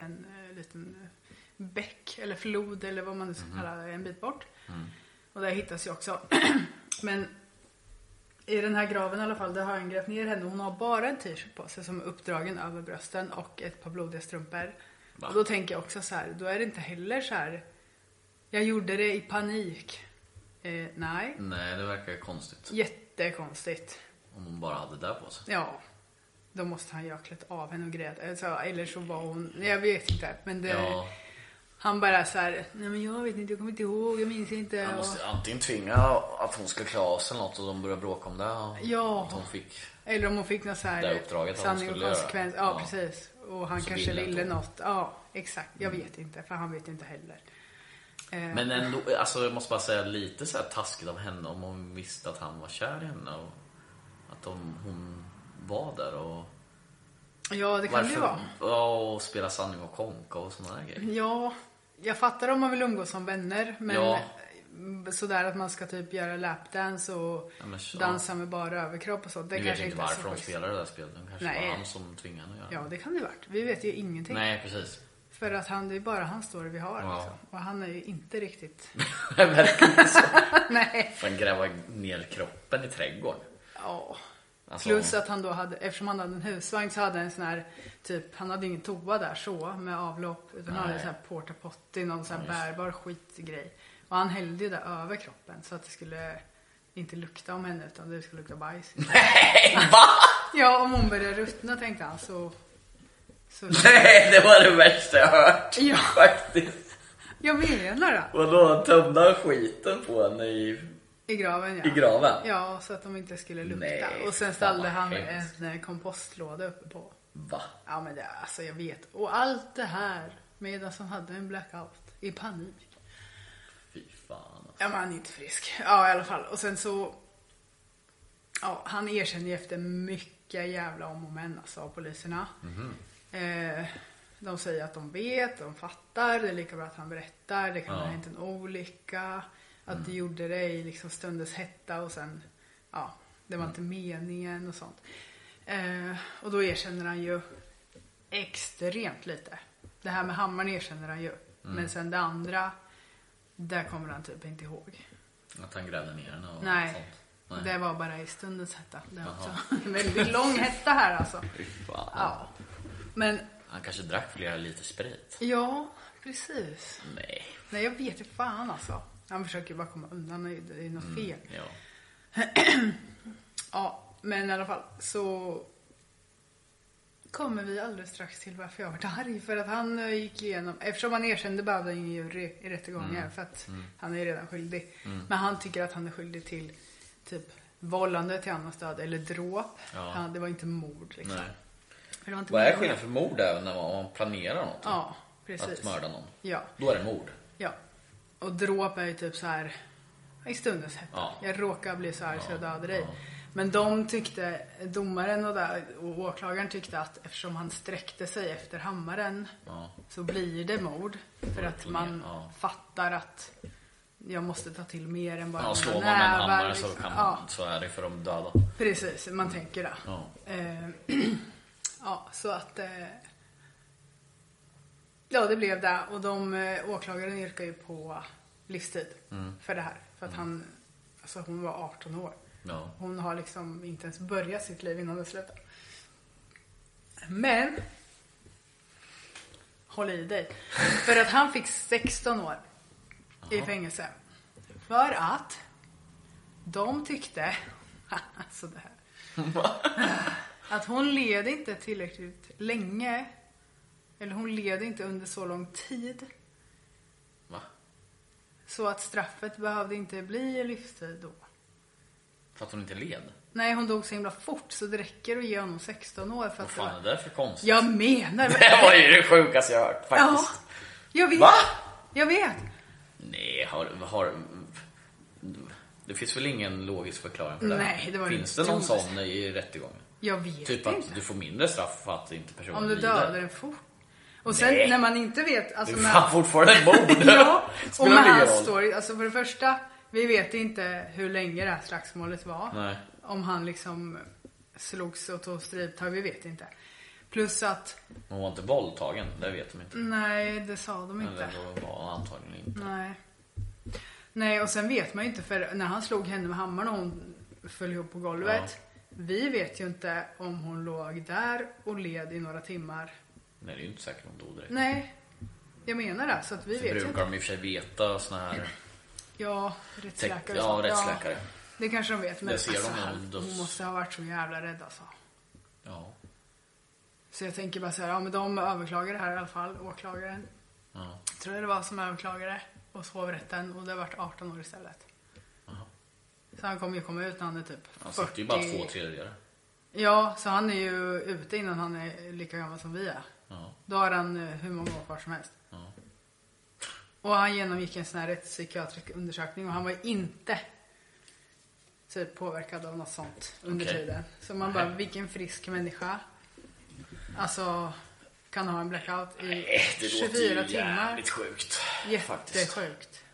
[SPEAKER 2] en eh, liten eh, bäck eller flod eller vad man nu ska kalla det, en bit bort. Och där hittas ju också. Men i den här graven i alla fall, där har han grävt ner henne. Hon har bara en t-shirt på sig som är uppdragen över brösten och ett par blodiga strumpor. Och då tänker jag också så här, då är det inte heller så här, jag gjorde det i panik. Eh, nej,
[SPEAKER 3] Nej, det verkar ju konstigt.
[SPEAKER 2] jättekonstigt.
[SPEAKER 3] Om hon bara hade det där på sig.
[SPEAKER 2] Ja. Då måste han ju ha klätt av henne och grät. Alltså, eller så var hon, jag vet inte. Men det,
[SPEAKER 3] Ja,
[SPEAKER 2] han bara så här, nej men jag vet inte, jag kommer inte ihåg, jag minns inte.
[SPEAKER 3] han måste
[SPEAKER 2] Och,
[SPEAKER 3] antingen tvinga att hon skulle klä av sig eller något och de började bråka om det. och
[SPEAKER 2] Ja.
[SPEAKER 3] Att hon fick.
[SPEAKER 2] eller om hon fick något så
[SPEAKER 3] Det här
[SPEAKER 2] här
[SPEAKER 3] uppdraget han
[SPEAKER 2] sanning och
[SPEAKER 3] skulle göra.
[SPEAKER 2] konsekvens. Ja,
[SPEAKER 3] Ja.
[SPEAKER 2] precis. Och han
[SPEAKER 3] Så
[SPEAKER 2] kanske
[SPEAKER 3] ville
[SPEAKER 2] ville
[SPEAKER 3] inte hon.
[SPEAKER 2] något. Ja, exakt. Jag vet inte, för han vet inte heller. Eh,
[SPEAKER 3] Men ändå, alltså jag måste bara säga lite så här taskigt av henne om hon visste att han var kär i henne och att de, hon var där och...
[SPEAKER 2] ja, det kan det ju vara. Mm.
[SPEAKER 3] Ja, och spela sanning och konka och såna där grejer.
[SPEAKER 2] Ja, jag fattar om man vill umgås som vänner. Men eh,
[SPEAKER 3] Ja.
[SPEAKER 2] sådär att man ska typ göra lapdance och
[SPEAKER 3] Ja, men så-
[SPEAKER 2] dansa med bara överkropp och sånt. Det
[SPEAKER 3] nu vet
[SPEAKER 2] kanske
[SPEAKER 3] jag inte
[SPEAKER 2] inte är så
[SPEAKER 3] varför hon
[SPEAKER 2] schysst.
[SPEAKER 3] spelade det där spelet. Det kanske
[SPEAKER 2] Nej.
[SPEAKER 3] var han som tvingade henne att göra
[SPEAKER 2] Ja, det kan det varit. Vi vet ju
[SPEAKER 3] det.
[SPEAKER 2] ingenting.
[SPEAKER 3] Nej, precis.
[SPEAKER 2] För att han, det är bara hans story vi har.
[SPEAKER 3] Ja.
[SPEAKER 2] Liksom. Och han är ju inte riktigt...
[SPEAKER 3] Det verkar inte så.
[SPEAKER 2] Nej.
[SPEAKER 3] Fan gräva ner kroppen i trädgården.
[SPEAKER 2] Ja.
[SPEAKER 3] Alltså-
[SPEAKER 2] Plus att han då hade, eftersom han hade en husvagn så hade han en sån här, typ, han hade ingen toa där så med avlopp. Utan han hade en sån här porta potty, någon sån här bärbar skitgrej. Och han hällde ju det över kroppen så att det skulle inte lukta om henne utan det skulle lukta bajs.
[SPEAKER 3] Nej, va?
[SPEAKER 2] Ja, om hon började ruttna tänkte han så... så
[SPEAKER 3] Nej, det var det värsta jag hört.
[SPEAKER 2] Ja.
[SPEAKER 3] Faktiskt.
[SPEAKER 2] jag menar det.
[SPEAKER 3] Vadå, tömde han skiten på henne i...
[SPEAKER 2] I graven
[SPEAKER 3] I
[SPEAKER 2] ja.
[SPEAKER 3] graven?
[SPEAKER 2] Ja, så att de inte skulle lukta.
[SPEAKER 3] Nej,
[SPEAKER 2] och sen
[SPEAKER 3] fan
[SPEAKER 2] ställde
[SPEAKER 3] vad
[SPEAKER 2] han
[SPEAKER 3] hemskt.
[SPEAKER 2] en eh, kompostlåda uppe på.
[SPEAKER 3] Va?
[SPEAKER 2] Ja men det, alltså jag vet. Och allt det här medan han hade en blackout i panik.
[SPEAKER 3] Fy fan. alltså.
[SPEAKER 2] Ja men han är inte frisk. Ja i alla fall. Och sen så. Ja han erkänner ju efter mycket jävla om och men alltså av poliserna.
[SPEAKER 3] Mhm.
[SPEAKER 2] Eh, de säger att de vet, de fattar, det är lika bra att han berättar, det kan ha
[SPEAKER 3] Ja. Mm.
[SPEAKER 2] hänt en olycka. Att du gjorde det i liksom stundens hetta och sen, ja, det
[SPEAKER 3] Mm.
[SPEAKER 2] var inte meningen och sånt. Eh, och då erkänner han ju extremt lite. Det här med hammaren erkänner han ju. Men sen det andra, där kommer han typ inte ihåg.
[SPEAKER 3] Att han grävde ner henne och
[SPEAKER 2] Nej.
[SPEAKER 3] sånt.
[SPEAKER 2] Det var bara i stundens hetta. Det var också
[SPEAKER 3] Jaha.
[SPEAKER 2] en väldigt lång hetta här alltså.
[SPEAKER 3] Fy fan.
[SPEAKER 2] Ja. Men
[SPEAKER 3] Han kanske drack flera liter sprit.
[SPEAKER 2] ja, precis.
[SPEAKER 3] Nej.
[SPEAKER 2] Nej, jag vet inte fan alltså. Han försöker bara komma undan. Det är- Det är något fel.
[SPEAKER 3] Ja.
[SPEAKER 2] Ja, men i alla fall så kommer vi alldeles strax till varför jag var arg. För att han eh, gick igenom, eftersom han erkände behövde han ju re- i rättegången
[SPEAKER 3] Mm.
[SPEAKER 2] för att han är ju redan skyldig. Men han tycker att han är skyldig till typ vållande till annans död eller dråp.
[SPEAKER 3] Ja.
[SPEAKER 2] Han, det var inte mord liksom.
[SPEAKER 3] Nej.
[SPEAKER 2] För det var inte
[SPEAKER 3] Vad är
[SPEAKER 2] meningen.
[SPEAKER 3] skillnaden för mord även när man, om man planerar något?
[SPEAKER 2] Ja, precis.
[SPEAKER 3] Att mörda någon?
[SPEAKER 2] Ja.
[SPEAKER 3] Då är det mord.
[SPEAKER 2] Ja. Och dråp är ju typ så här i stundens hetta.
[SPEAKER 3] Ja.
[SPEAKER 2] Jag råkar bli så arg så jag dödar dig. Men de tyckte, domaren och, där, och åklagaren tyckte att eftersom han sträckte sig efter hammaren
[SPEAKER 3] Ja.
[SPEAKER 2] så blir det mord. För att man
[SPEAKER 3] Ja.
[SPEAKER 2] fattar att jag måste ta till mer än bara
[SPEAKER 3] Ja,
[SPEAKER 2] mina
[SPEAKER 3] slår man med en
[SPEAKER 2] nävar,
[SPEAKER 3] hammare så,
[SPEAKER 2] liksom.
[SPEAKER 3] kan
[SPEAKER 2] Ja.
[SPEAKER 3] man, så är det för de döda.
[SPEAKER 2] Precis, man tänker det.
[SPEAKER 3] Ja.
[SPEAKER 2] Eh, ja, så att... Eh, ja, det blev det. Och de eh, åklagaren yrkar ju på livstid för det här. För att han... Alltså hon var 18 år.
[SPEAKER 3] Ja.
[SPEAKER 2] Hon har liksom inte ens börjat sitt liv innan det slutar. Men... Håll i dig. För att han fick 16 år i fängelse. För att de tyckte... alltså det här. Att hon led inte tillräckligt länge. Eller hon led inte under så lång tid.
[SPEAKER 3] Va?
[SPEAKER 2] Så att straffet behövde inte bli livstid då.
[SPEAKER 3] För att hon inte led?
[SPEAKER 2] Nej, hon dog så himla fort så det räcker att ge honom 16 år för
[SPEAKER 3] Vad
[SPEAKER 2] att... det
[SPEAKER 3] fan är
[SPEAKER 2] var...
[SPEAKER 3] det där för konstigt?
[SPEAKER 2] Jag menar
[SPEAKER 3] Det var ju det sjukaste jag hört
[SPEAKER 2] Ja,
[SPEAKER 3] faktiskt.
[SPEAKER 2] jag vet.
[SPEAKER 3] Va?
[SPEAKER 2] Jag vet.
[SPEAKER 3] Nej, har, har... Det finns väl ingen logisk förklaring för det?
[SPEAKER 2] Nej, det var
[SPEAKER 3] Finns
[SPEAKER 2] det
[SPEAKER 3] det någon
[SPEAKER 2] dummaste.
[SPEAKER 3] sån i rättegången?
[SPEAKER 2] Jag vet
[SPEAKER 3] Typ
[SPEAKER 2] inte.
[SPEAKER 3] att du får mindre straff för att inte personen
[SPEAKER 2] Om du
[SPEAKER 3] lider?
[SPEAKER 2] dödar den fort. Och sen
[SPEAKER 3] Nej.
[SPEAKER 2] när man inte vet...
[SPEAKER 3] Det
[SPEAKER 2] Alltså,
[SPEAKER 3] är
[SPEAKER 2] när-
[SPEAKER 3] fan fortfarande ett mord!
[SPEAKER 2] ja,
[SPEAKER 3] Spelar
[SPEAKER 2] och med
[SPEAKER 3] ingen
[SPEAKER 2] hans
[SPEAKER 3] roll.
[SPEAKER 2] story. Alltså för det första, vi vet inte hur länge det här slagsmålet var.
[SPEAKER 3] Nej.
[SPEAKER 2] Om han liksom slogs och tog stridtag, vi vet inte. Plus att,
[SPEAKER 3] Hon var inte våldtagen, det vet de inte.
[SPEAKER 2] nej det sa de Mm, inte.
[SPEAKER 3] Eller då var hon antagligen inte.
[SPEAKER 2] Nej. Nej, och sen vet man ju inte för när han slog henne med hammaren och hon föll ihop på golvet. Vi vet ju inte om hon låg där och led i några timmar.
[SPEAKER 3] Nej, det är ju inte säkert hon dog direkt.
[SPEAKER 2] Nej, jag menar det. Så att vi
[SPEAKER 3] det
[SPEAKER 2] vet ju
[SPEAKER 3] brukar
[SPEAKER 2] inte.
[SPEAKER 3] de i och för sig veta såna här...
[SPEAKER 2] Ja, rättsläkare.
[SPEAKER 3] Ja,
[SPEAKER 2] och sånt.
[SPEAKER 3] rättsläkare.
[SPEAKER 2] det kanske de vet. Men
[SPEAKER 3] Det ser de
[SPEAKER 2] alltså,
[SPEAKER 3] nog
[SPEAKER 2] han-
[SPEAKER 3] då.
[SPEAKER 2] hon måste ha varit så jävla rädd alltså.
[SPEAKER 3] Ja.
[SPEAKER 2] Så jag tänker bara så här, ja men de överklagar det här i alla fall, åklagaren.
[SPEAKER 3] ja.
[SPEAKER 2] tror jag det var, som överklagade och så hovrätten och det vart 18 år istället. Så han kommer ju komma ut när han är typ 40.
[SPEAKER 3] Han sitter ju bara två tredjedelar.
[SPEAKER 2] Ja, så han är ju ute innan han är lika gammal som vi är.
[SPEAKER 3] Ja.
[SPEAKER 2] Då har han eh, hur många år kvar som helst. Och han genomgick en sån här rättspsykiatrisk undersökning och han var ju inte typ påverkad av något sånt under
[SPEAKER 3] Okej.
[SPEAKER 2] tiden. Så man bara, vilken frisk människa. Alltså, kan ha en blackout i
[SPEAKER 3] Nej, det
[SPEAKER 2] 24
[SPEAKER 3] låter ju
[SPEAKER 2] timmar.
[SPEAKER 3] jävligt sjukt. Faktiskt.
[SPEAKER 2] Jättesjukt.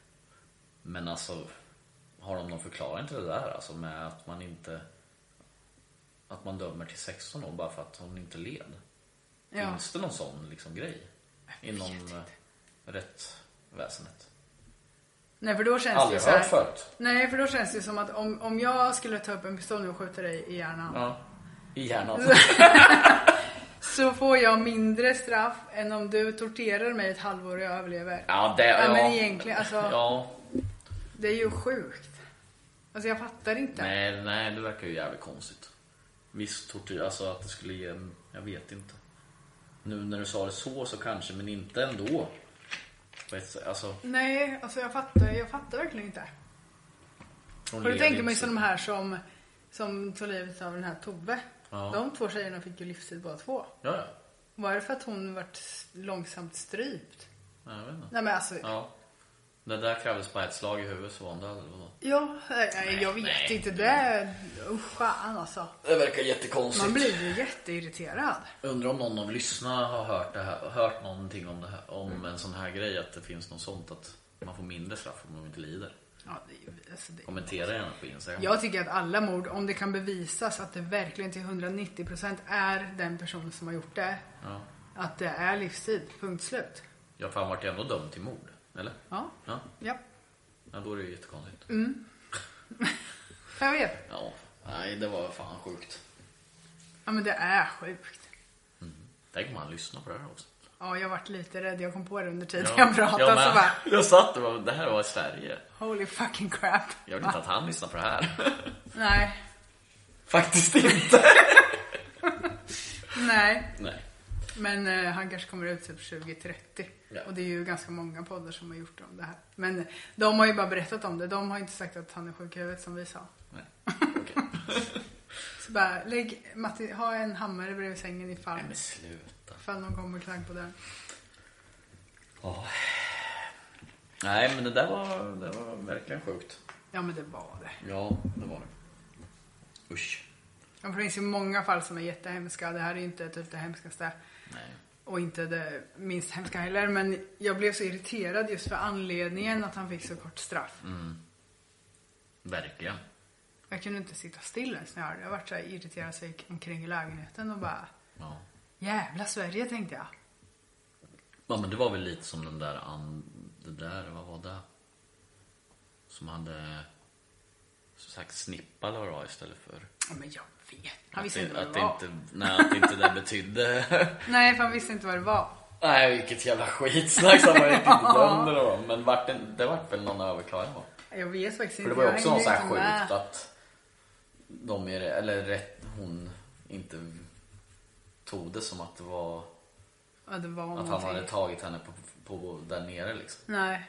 [SPEAKER 3] Men alltså, har de någon förklaring till det där? Alltså med att man inte... Att man dömer till 16 år bara för att hon inte led?
[SPEAKER 2] Ja.
[SPEAKER 3] Finns det någon sån liksom grej?
[SPEAKER 2] Jag vet
[SPEAKER 3] Inom
[SPEAKER 2] inte.
[SPEAKER 3] eh, rättsväsendet?
[SPEAKER 2] Nej för då känns
[SPEAKER 3] Aldrig
[SPEAKER 2] det ju
[SPEAKER 3] hört
[SPEAKER 2] Alltså, så här,
[SPEAKER 3] förut.
[SPEAKER 2] Nej för då känns det ju som att om, om jag skulle ta upp en pistol nu och skjuta dig i hjärnan.
[SPEAKER 3] Ja. I hjärnan.
[SPEAKER 2] Så får jag mindre straff än om du torterar mig ett halvår och jag överlever.
[SPEAKER 3] Ja, det,
[SPEAKER 2] Ja,
[SPEAKER 3] ja.
[SPEAKER 2] men egentligen, alltså-
[SPEAKER 3] Ja,
[SPEAKER 2] Det är ju sjukt. Alltså jag fattar inte.
[SPEAKER 3] nej, nej, det verkar ju jävligt konstigt. Viss tortyr, alltså att det skulle ge en, jag vet inte. Nu när du sa det så, så kanske, men inte ändå. På ett sätt, Alltså,
[SPEAKER 2] Nej, alltså jag fattar, jag fattar verkligen inte.
[SPEAKER 3] hon
[SPEAKER 2] Och då
[SPEAKER 3] lever
[SPEAKER 2] tänker man ju
[SPEAKER 3] inte så-
[SPEAKER 2] som de här som, som tog livet av den här Tobbe.
[SPEAKER 3] Ja.
[SPEAKER 2] De två tjejerna fick ju livstid båda två.
[SPEAKER 3] Ja, ja.
[SPEAKER 2] Var det för att hon vart s- långsamt strypt?
[SPEAKER 3] Nej, jag vet inte.
[SPEAKER 2] Nej men alltså, ja,
[SPEAKER 3] Ja. Det där krävdes bara ett slag i huvudet så var hon död eller vadå?
[SPEAKER 2] nej, nej, eh, jag vet
[SPEAKER 3] nej.
[SPEAKER 2] inte. Det, usch fan alltså.
[SPEAKER 3] Det verkar jättekonstigt.
[SPEAKER 2] Man blir ju jätteirriterad.
[SPEAKER 3] Undrar om någon av lyssnarna har hört, det här, hört någonting om, det här, om
[SPEAKER 2] Mm.
[SPEAKER 3] en sån här grej, att det finns något sånt att man får mindre straff om de inte lider.
[SPEAKER 2] Ja, det, är ju- alltså det.
[SPEAKER 3] Kommentera gärna på Instagram.
[SPEAKER 2] Jag tycker att alla mord, om det kan bevisas att det verkligen till 190% är den personen som har gjort det.
[SPEAKER 3] Ja.
[SPEAKER 2] Att det är livstid, punkt slut.
[SPEAKER 3] Ja, för han vart ju ändå dömd till mord. Eller?
[SPEAKER 2] Ja.
[SPEAKER 3] Ja,
[SPEAKER 2] Ja,
[SPEAKER 3] ja då är det ju jättekonstigt.
[SPEAKER 2] Mm. jag vet.
[SPEAKER 3] Ja, nej det var fan sjukt.
[SPEAKER 2] Ja men det är sjukt.
[SPEAKER 3] Tänk om han lyssnar på det här också.
[SPEAKER 2] Ja, jag varit lite rädd. Jag kom på det under tiden jag pratade
[SPEAKER 3] jag
[SPEAKER 2] så
[SPEAKER 3] med.
[SPEAKER 2] bara
[SPEAKER 3] Jag satt och bara, det här var i Sverige.
[SPEAKER 2] Holy fucking crap.
[SPEAKER 3] Jag vill
[SPEAKER 2] Va?
[SPEAKER 3] inte att han lyssnar på det här.
[SPEAKER 2] Nej,
[SPEAKER 3] Faktiskt inte.
[SPEAKER 2] nej.
[SPEAKER 3] nej.
[SPEAKER 2] Men eh, han kanske kommer ut typ 2030.
[SPEAKER 3] Ja.
[SPEAKER 2] Och det är ju ganska många poddar som har gjort om det här. Men eh, de har ju bara berättat om det. De har inte sagt att han är sjuk i huvudet som vi sa.
[SPEAKER 3] nej. Okej.
[SPEAKER 2] Så bara, lägg, Matti, ha en hammare bredvid sängen ifall,
[SPEAKER 3] Nej men sluta.
[SPEAKER 2] ifall någon kommer och knackar på dörren.
[SPEAKER 3] Ja. Nej men det där var, det var verkligen sjukt.
[SPEAKER 2] Ja men det var det.
[SPEAKER 3] Ja, det var det. Usch.
[SPEAKER 2] Ja, för Det finns ju många fall som är jättehemska. Det här är ju inte typ det hemskaste.
[SPEAKER 3] Nej.
[SPEAKER 2] Och inte det minst hemska heller. Men jag blev så irriterad just för anledningen att han fick så kort straff.
[SPEAKER 3] Mm. Verkligen.
[SPEAKER 2] Jag kunde inte sitta still ens när jag hörde det. Jag vart så här irriterad så jag gick omkring i lägenheten och bara
[SPEAKER 3] Ja.
[SPEAKER 2] Jävla Sverige tänkte jag.
[SPEAKER 3] Ja men det var väl lite som den där, an... det där, vad var det? Som hade som sagt snippa eller vad det var istället för.
[SPEAKER 2] Ja, men jag vet. Han
[SPEAKER 3] att
[SPEAKER 2] visste
[SPEAKER 3] det,
[SPEAKER 2] inte vad
[SPEAKER 3] att
[SPEAKER 2] det var.
[SPEAKER 3] inte, nej, att inte det betydde.
[SPEAKER 2] Nej, för han visste inte vad det var.
[SPEAKER 3] nej vilket jävla skitsnack som var riktigt dömd eller vad. Men vart det, det vart väl någon överklagan va?
[SPEAKER 2] Jag vet faktiskt
[SPEAKER 3] För
[SPEAKER 2] inte.
[SPEAKER 3] det var ju
[SPEAKER 2] Jag
[SPEAKER 3] också
[SPEAKER 2] hängde
[SPEAKER 3] något så här
[SPEAKER 2] inte med.
[SPEAKER 3] sjukt att de är, eller rätt, hon inte tog det som att det var
[SPEAKER 2] Ja, det var
[SPEAKER 3] att han
[SPEAKER 2] någonting.
[SPEAKER 3] hade tagit henne på, på där nere liksom.
[SPEAKER 2] Nej,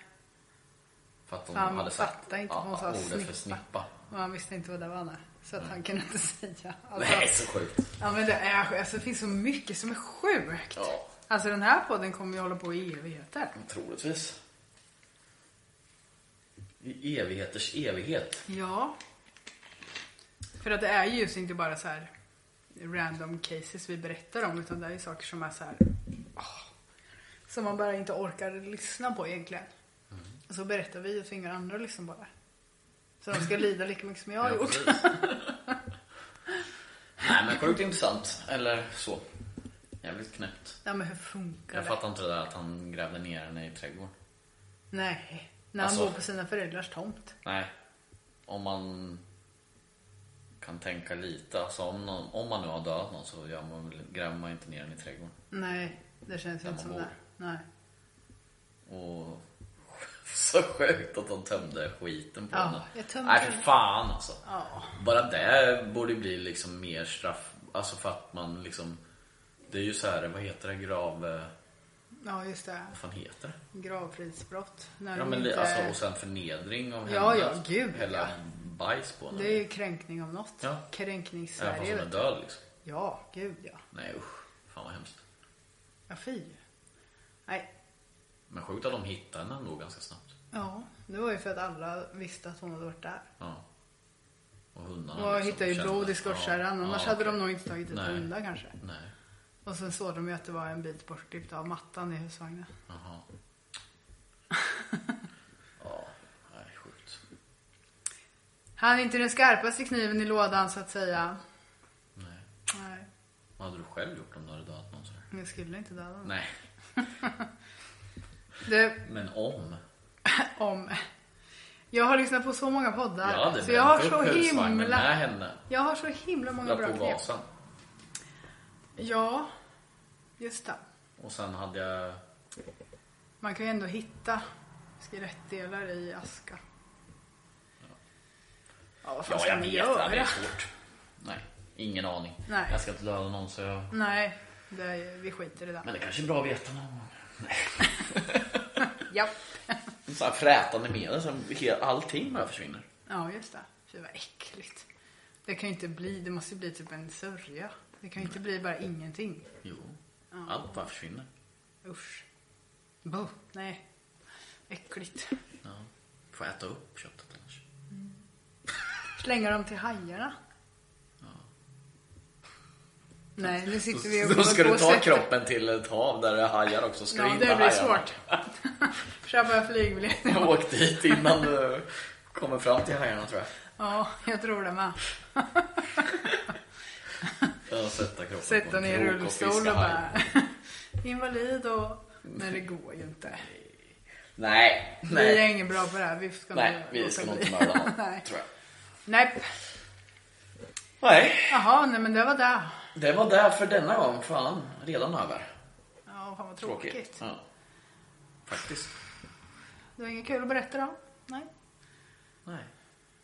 [SPEAKER 3] För att de
[SPEAKER 2] Fan,
[SPEAKER 3] hade
[SPEAKER 2] fattar inte vad hon sa,
[SPEAKER 3] ordet för
[SPEAKER 2] snippa.
[SPEAKER 3] snippa.
[SPEAKER 2] och han visste inte vad det var. Nej. Så att han kunde inte säga.
[SPEAKER 3] Det
[SPEAKER 2] Alltså,
[SPEAKER 3] här är så sjukt.
[SPEAKER 2] Ja men det är sjukt. Alltså, det finns så mycket som är sjukt.
[SPEAKER 3] Ja.
[SPEAKER 2] Alltså den här podden kommer ju hålla på i evigheter.
[SPEAKER 3] Troligtvis. I evigheters evighet.
[SPEAKER 2] Ja. För att det är ju just inte bara så här random cases vi berättar om utan det är ju saker som är så här åh, som man bara inte orkar lyssna på egentligen.
[SPEAKER 3] Mm.
[SPEAKER 2] Och så berättar vi och tvingar andra att lyssna på det. Så de ska lida lika mycket som jag har
[SPEAKER 3] Ja,
[SPEAKER 2] gjort.
[SPEAKER 3] precis. Nej men sjukt intressant. Eller så. Jävligt knäppt.
[SPEAKER 2] Nej men hur funkar
[SPEAKER 3] Jag
[SPEAKER 2] det?
[SPEAKER 3] fattar inte det där att han grävde ner henne i trädgården.
[SPEAKER 2] Nej. När han
[SPEAKER 3] Alltså-
[SPEAKER 2] bor på sina föräldrars tomt.
[SPEAKER 3] Nej. Om man kan tänka lite. Alltså om, någon, om man nu har dödat någon så gör man, väl- gräver man inte ner den i trädgården.
[SPEAKER 2] Nej, det känns ju
[SPEAKER 3] Där
[SPEAKER 2] inte som
[SPEAKER 3] man
[SPEAKER 2] det. Nej.
[SPEAKER 3] Och så sjukt att de tömde skiten på
[SPEAKER 2] Ja,
[SPEAKER 3] henne.
[SPEAKER 2] jag tömde
[SPEAKER 3] Nej
[SPEAKER 2] den.
[SPEAKER 3] för fan alltså.
[SPEAKER 2] Ja.
[SPEAKER 3] Bara det borde ju bli liksom mer straff. Alltså för att man liksom. Det är ju så här, vad heter det? Grav... eh,
[SPEAKER 2] Ja just det.
[SPEAKER 3] Vad fan heter det?
[SPEAKER 2] Gravfridsbrott. När
[SPEAKER 3] Ja
[SPEAKER 2] de
[SPEAKER 3] men det,
[SPEAKER 2] inte-
[SPEAKER 3] alltså och sen förnedring av
[SPEAKER 2] Ja,
[SPEAKER 3] henne.
[SPEAKER 2] ja, gud,
[SPEAKER 3] Hela
[SPEAKER 2] ja.
[SPEAKER 3] bajs på henne.
[SPEAKER 2] Det är ju kränkning av något.
[SPEAKER 3] Ja. Även fast
[SPEAKER 2] Kränknings-Sverige.
[SPEAKER 3] hon är
[SPEAKER 2] vet du.
[SPEAKER 3] död liksom.
[SPEAKER 2] Ja, gud ja.
[SPEAKER 3] Nej usch. Fan vad hemskt.
[SPEAKER 2] Ja, fy. Nej.
[SPEAKER 3] Men sjukt att de hittade henne ändå ganska snabbt.
[SPEAKER 2] Ja, det var ju för att alla visste att hon hade varit där.
[SPEAKER 3] Ja. Och hundarna
[SPEAKER 2] Och
[SPEAKER 3] liksom
[SPEAKER 2] hittade ju
[SPEAKER 3] kände-
[SPEAKER 2] blod i skottkärran.
[SPEAKER 3] Ja,
[SPEAKER 2] Annars
[SPEAKER 3] ja,
[SPEAKER 2] hade de
[SPEAKER 3] okej.
[SPEAKER 2] nog inte tagit ut
[SPEAKER 3] Nej.
[SPEAKER 2] hundar kanske.
[SPEAKER 3] Nej.
[SPEAKER 2] Och sen såg de ju att det var en bit bortklippt av mattan i husvagnen.
[SPEAKER 3] Jaha. ja, nej sjukt.
[SPEAKER 2] Han är inte den skarpaste kniven i lådan så att säga.
[SPEAKER 3] Nej.
[SPEAKER 2] Nej,
[SPEAKER 3] Vad hade du själv gjort om du hade dödat någon sådär?
[SPEAKER 2] jag skulle inte döda honom.
[SPEAKER 3] Nej,
[SPEAKER 2] Du,
[SPEAKER 3] men om.
[SPEAKER 2] om... Jag har lyssnat på så många poddar.
[SPEAKER 3] Jag hade
[SPEAKER 2] så jag har
[SPEAKER 3] bränt
[SPEAKER 2] så
[SPEAKER 3] upp husvagnen med
[SPEAKER 2] himla...
[SPEAKER 3] henne.
[SPEAKER 2] Jag har så himla många
[SPEAKER 3] La
[SPEAKER 2] bra
[SPEAKER 3] på
[SPEAKER 2] knep.
[SPEAKER 3] gasen.
[SPEAKER 2] Ja, just det.
[SPEAKER 3] Och sen hade jag...
[SPEAKER 2] Man kan ju ändå hitta skelettdelar i aska. Ja, vad fan
[SPEAKER 3] Ja,
[SPEAKER 2] ska
[SPEAKER 3] jag
[SPEAKER 2] man
[SPEAKER 3] vet
[SPEAKER 2] göra?
[SPEAKER 3] det. Det är svårt. Nej, ingen aning.
[SPEAKER 2] Nej.
[SPEAKER 3] Jag ska inte döda någon så jag...
[SPEAKER 2] Nej, det är, vi skiter i det där.
[SPEAKER 3] Men det kanske är bra att veta någon gång.
[SPEAKER 2] Ja.
[SPEAKER 3] Så här frätande medel, så he- allting bara försvinner.
[SPEAKER 2] ja, just det. Fy vad äckligt. Det kan ju inte bli, det måste ju bli typ en sörja. Det kan ju inte bli bara ingenting.
[SPEAKER 3] Jo, allt bara försvinner.
[SPEAKER 2] Usch. Buh, nej. Äckligt.
[SPEAKER 3] Ja. Får äta upp köttet annars.
[SPEAKER 2] Slänga dem till hajarna. Nej, nu sitter vi och
[SPEAKER 3] Då ska
[SPEAKER 2] kommer
[SPEAKER 3] du
[SPEAKER 2] på
[SPEAKER 3] ta
[SPEAKER 2] sätt-
[SPEAKER 3] kroppen till ett hav där det är hajar också. Ska du
[SPEAKER 2] Ja,
[SPEAKER 3] in
[SPEAKER 2] det
[SPEAKER 3] med
[SPEAKER 2] blir
[SPEAKER 3] hajarna?
[SPEAKER 2] svårt. Köpa en flygbiljett.
[SPEAKER 3] Jag åkte dit innan du kommer fram till hajarna tror jag.
[SPEAKER 2] Ja, jag tror det med.
[SPEAKER 3] Ja, sätta kroppen på
[SPEAKER 2] Sätta
[SPEAKER 3] en
[SPEAKER 2] ner i
[SPEAKER 3] krok och
[SPEAKER 2] rullstol och
[SPEAKER 3] fiska haj.
[SPEAKER 2] bara... Invalid och... Nej, det går ju inte.
[SPEAKER 3] Nej,
[SPEAKER 2] Vi är
[SPEAKER 3] nej.
[SPEAKER 2] inget bra på det här. Vi ska
[SPEAKER 3] Nej,
[SPEAKER 2] nog
[SPEAKER 3] vi
[SPEAKER 2] låta
[SPEAKER 3] ska nog
[SPEAKER 2] bli.
[SPEAKER 3] inte mörda någon,
[SPEAKER 2] Nej.
[SPEAKER 3] tror jag.
[SPEAKER 2] Nej.
[SPEAKER 3] Nej,
[SPEAKER 2] Jaha, nej men det var det.
[SPEAKER 3] det var där för denna gång. Fan, redan över.
[SPEAKER 2] Ja, fan vad tråkigt.
[SPEAKER 3] Tråkigt. Ja. Faktiskt.
[SPEAKER 2] Det var inget kul att berätta om? Nej.
[SPEAKER 3] Nej,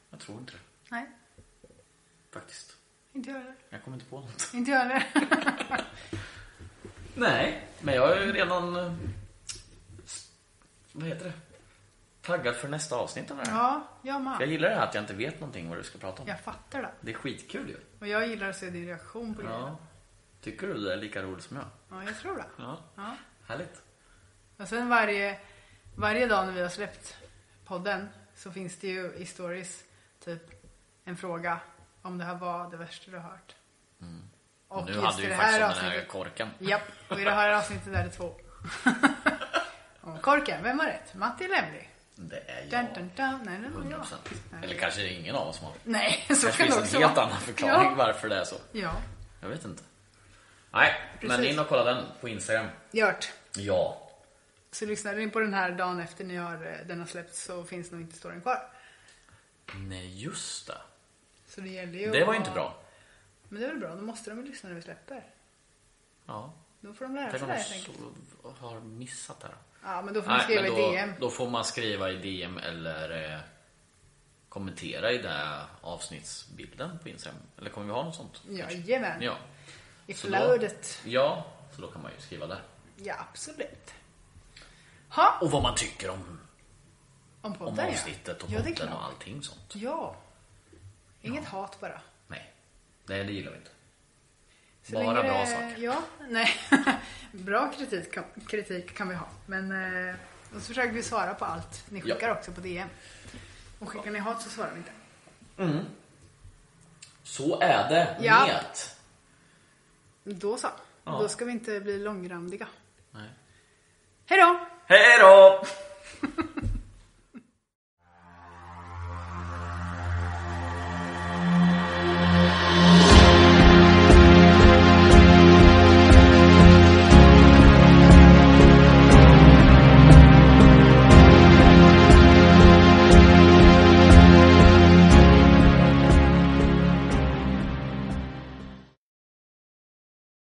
[SPEAKER 3] jag tror inte det.
[SPEAKER 2] Nej,
[SPEAKER 3] Faktiskt.
[SPEAKER 2] inte jag heller.
[SPEAKER 3] Jag kommer inte på något.
[SPEAKER 2] Inte jag heller.
[SPEAKER 3] Nej, men jag är ju redan... eh, Vad heter det? Taggad för nästa avsnitt av det här.
[SPEAKER 2] Ja, jag
[SPEAKER 3] Jag
[SPEAKER 2] med.
[SPEAKER 3] gillar det här att jag inte vet någonting vad du ska prata om.
[SPEAKER 2] Jag fattar det.
[SPEAKER 3] Det är skitkul ju.
[SPEAKER 2] Och jag gillar att se din reaktion på grejerna.
[SPEAKER 3] Ja. Tycker du det är lika roligt som jag?
[SPEAKER 2] Ja, jag tror det.
[SPEAKER 3] Ja.
[SPEAKER 2] Ja.
[SPEAKER 3] Härligt.
[SPEAKER 2] Och sen varje, varje dag när vi har släppt podden så finns det ju i stories typ en fråga om det här var det värsta du har hört. Och
[SPEAKER 3] Mm. nu
[SPEAKER 2] just
[SPEAKER 3] hade
[SPEAKER 2] i
[SPEAKER 3] vi
[SPEAKER 2] det
[SPEAKER 3] faktiskt
[SPEAKER 2] här
[SPEAKER 3] om den här
[SPEAKER 2] avsnittet-
[SPEAKER 3] korken.
[SPEAKER 2] Japp, och i det här avsnittet är det två. Om korken, vem har rätt? Matti eller Emily?
[SPEAKER 3] Det är
[SPEAKER 2] Dun,
[SPEAKER 3] jag.
[SPEAKER 2] dun, dun. Nej, det var
[SPEAKER 3] 100%.
[SPEAKER 2] jag.
[SPEAKER 3] Eller
[SPEAKER 2] Nej.
[SPEAKER 3] kanske ingen av oss som har.
[SPEAKER 2] Nej, så
[SPEAKER 3] Kanske
[SPEAKER 2] kan det
[SPEAKER 3] finns
[SPEAKER 2] också
[SPEAKER 3] en
[SPEAKER 2] vara.
[SPEAKER 3] helt annan förklaring
[SPEAKER 2] Ja,
[SPEAKER 3] varför det är så.
[SPEAKER 2] ja.
[SPEAKER 3] Jag vet inte. Nej, men
[SPEAKER 2] Precis.
[SPEAKER 3] in och kolla den på Instagram.
[SPEAKER 2] Gjort.
[SPEAKER 3] Ja,
[SPEAKER 2] Så lyssnade ni på den här dagen efter ni har, eh, den har släppts så finns nog inte storyn kvar.
[SPEAKER 3] nej just det.
[SPEAKER 2] Så det gäller ju
[SPEAKER 3] Det
[SPEAKER 2] att
[SPEAKER 3] var ju
[SPEAKER 2] ha-
[SPEAKER 3] inte bra.
[SPEAKER 2] Men det är väl bra, då måste de ju lyssna när vi släpper.
[SPEAKER 3] Ja.
[SPEAKER 2] Då får de lära sig
[SPEAKER 3] Tänk
[SPEAKER 2] det
[SPEAKER 3] om
[SPEAKER 2] här, helt enkelt.
[SPEAKER 3] de har missat det här.
[SPEAKER 2] Ja, men då får man skriva
[SPEAKER 3] men
[SPEAKER 2] i
[SPEAKER 3] då,
[SPEAKER 2] DM.
[SPEAKER 3] Då får man skriva i DM eller eh, kommentera i den här avsnittsbilden på Instagram. Eller kommer vi ha något sånt? kanske?
[SPEAKER 2] Jajamän.
[SPEAKER 3] Ja.
[SPEAKER 2] I
[SPEAKER 3] Så då-
[SPEAKER 2] flödet.
[SPEAKER 3] Ja, så då kan man ju skriva där.
[SPEAKER 2] Ja, absolut. Ha,
[SPEAKER 3] Och vad man tycker om,
[SPEAKER 2] om
[SPEAKER 3] om
[SPEAKER 2] podden
[SPEAKER 3] avsnittet och podden
[SPEAKER 2] ja. ja, det är klart.
[SPEAKER 3] och allting sånt.
[SPEAKER 2] Ja. Inget hat bara.
[SPEAKER 3] Nej. Nej, det gillar vi inte.
[SPEAKER 2] Så
[SPEAKER 3] Bara
[SPEAKER 2] länge
[SPEAKER 3] bra
[SPEAKER 2] det-
[SPEAKER 3] saker.
[SPEAKER 2] Ja, nej. bra kritik kan, kritik kan vi ha. Men eh, och så försöker vi svara på allt. Ni
[SPEAKER 3] Ja.
[SPEAKER 2] skickar också på DM. Och skickar ni hat så svarar vi inte.
[SPEAKER 3] Så är det
[SPEAKER 2] Ja.
[SPEAKER 3] med.
[SPEAKER 2] Då så.
[SPEAKER 3] Ja.
[SPEAKER 2] Då ska vi inte bli långrandiga.
[SPEAKER 3] Nej.
[SPEAKER 2] Hej då!
[SPEAKER 3] Hej då!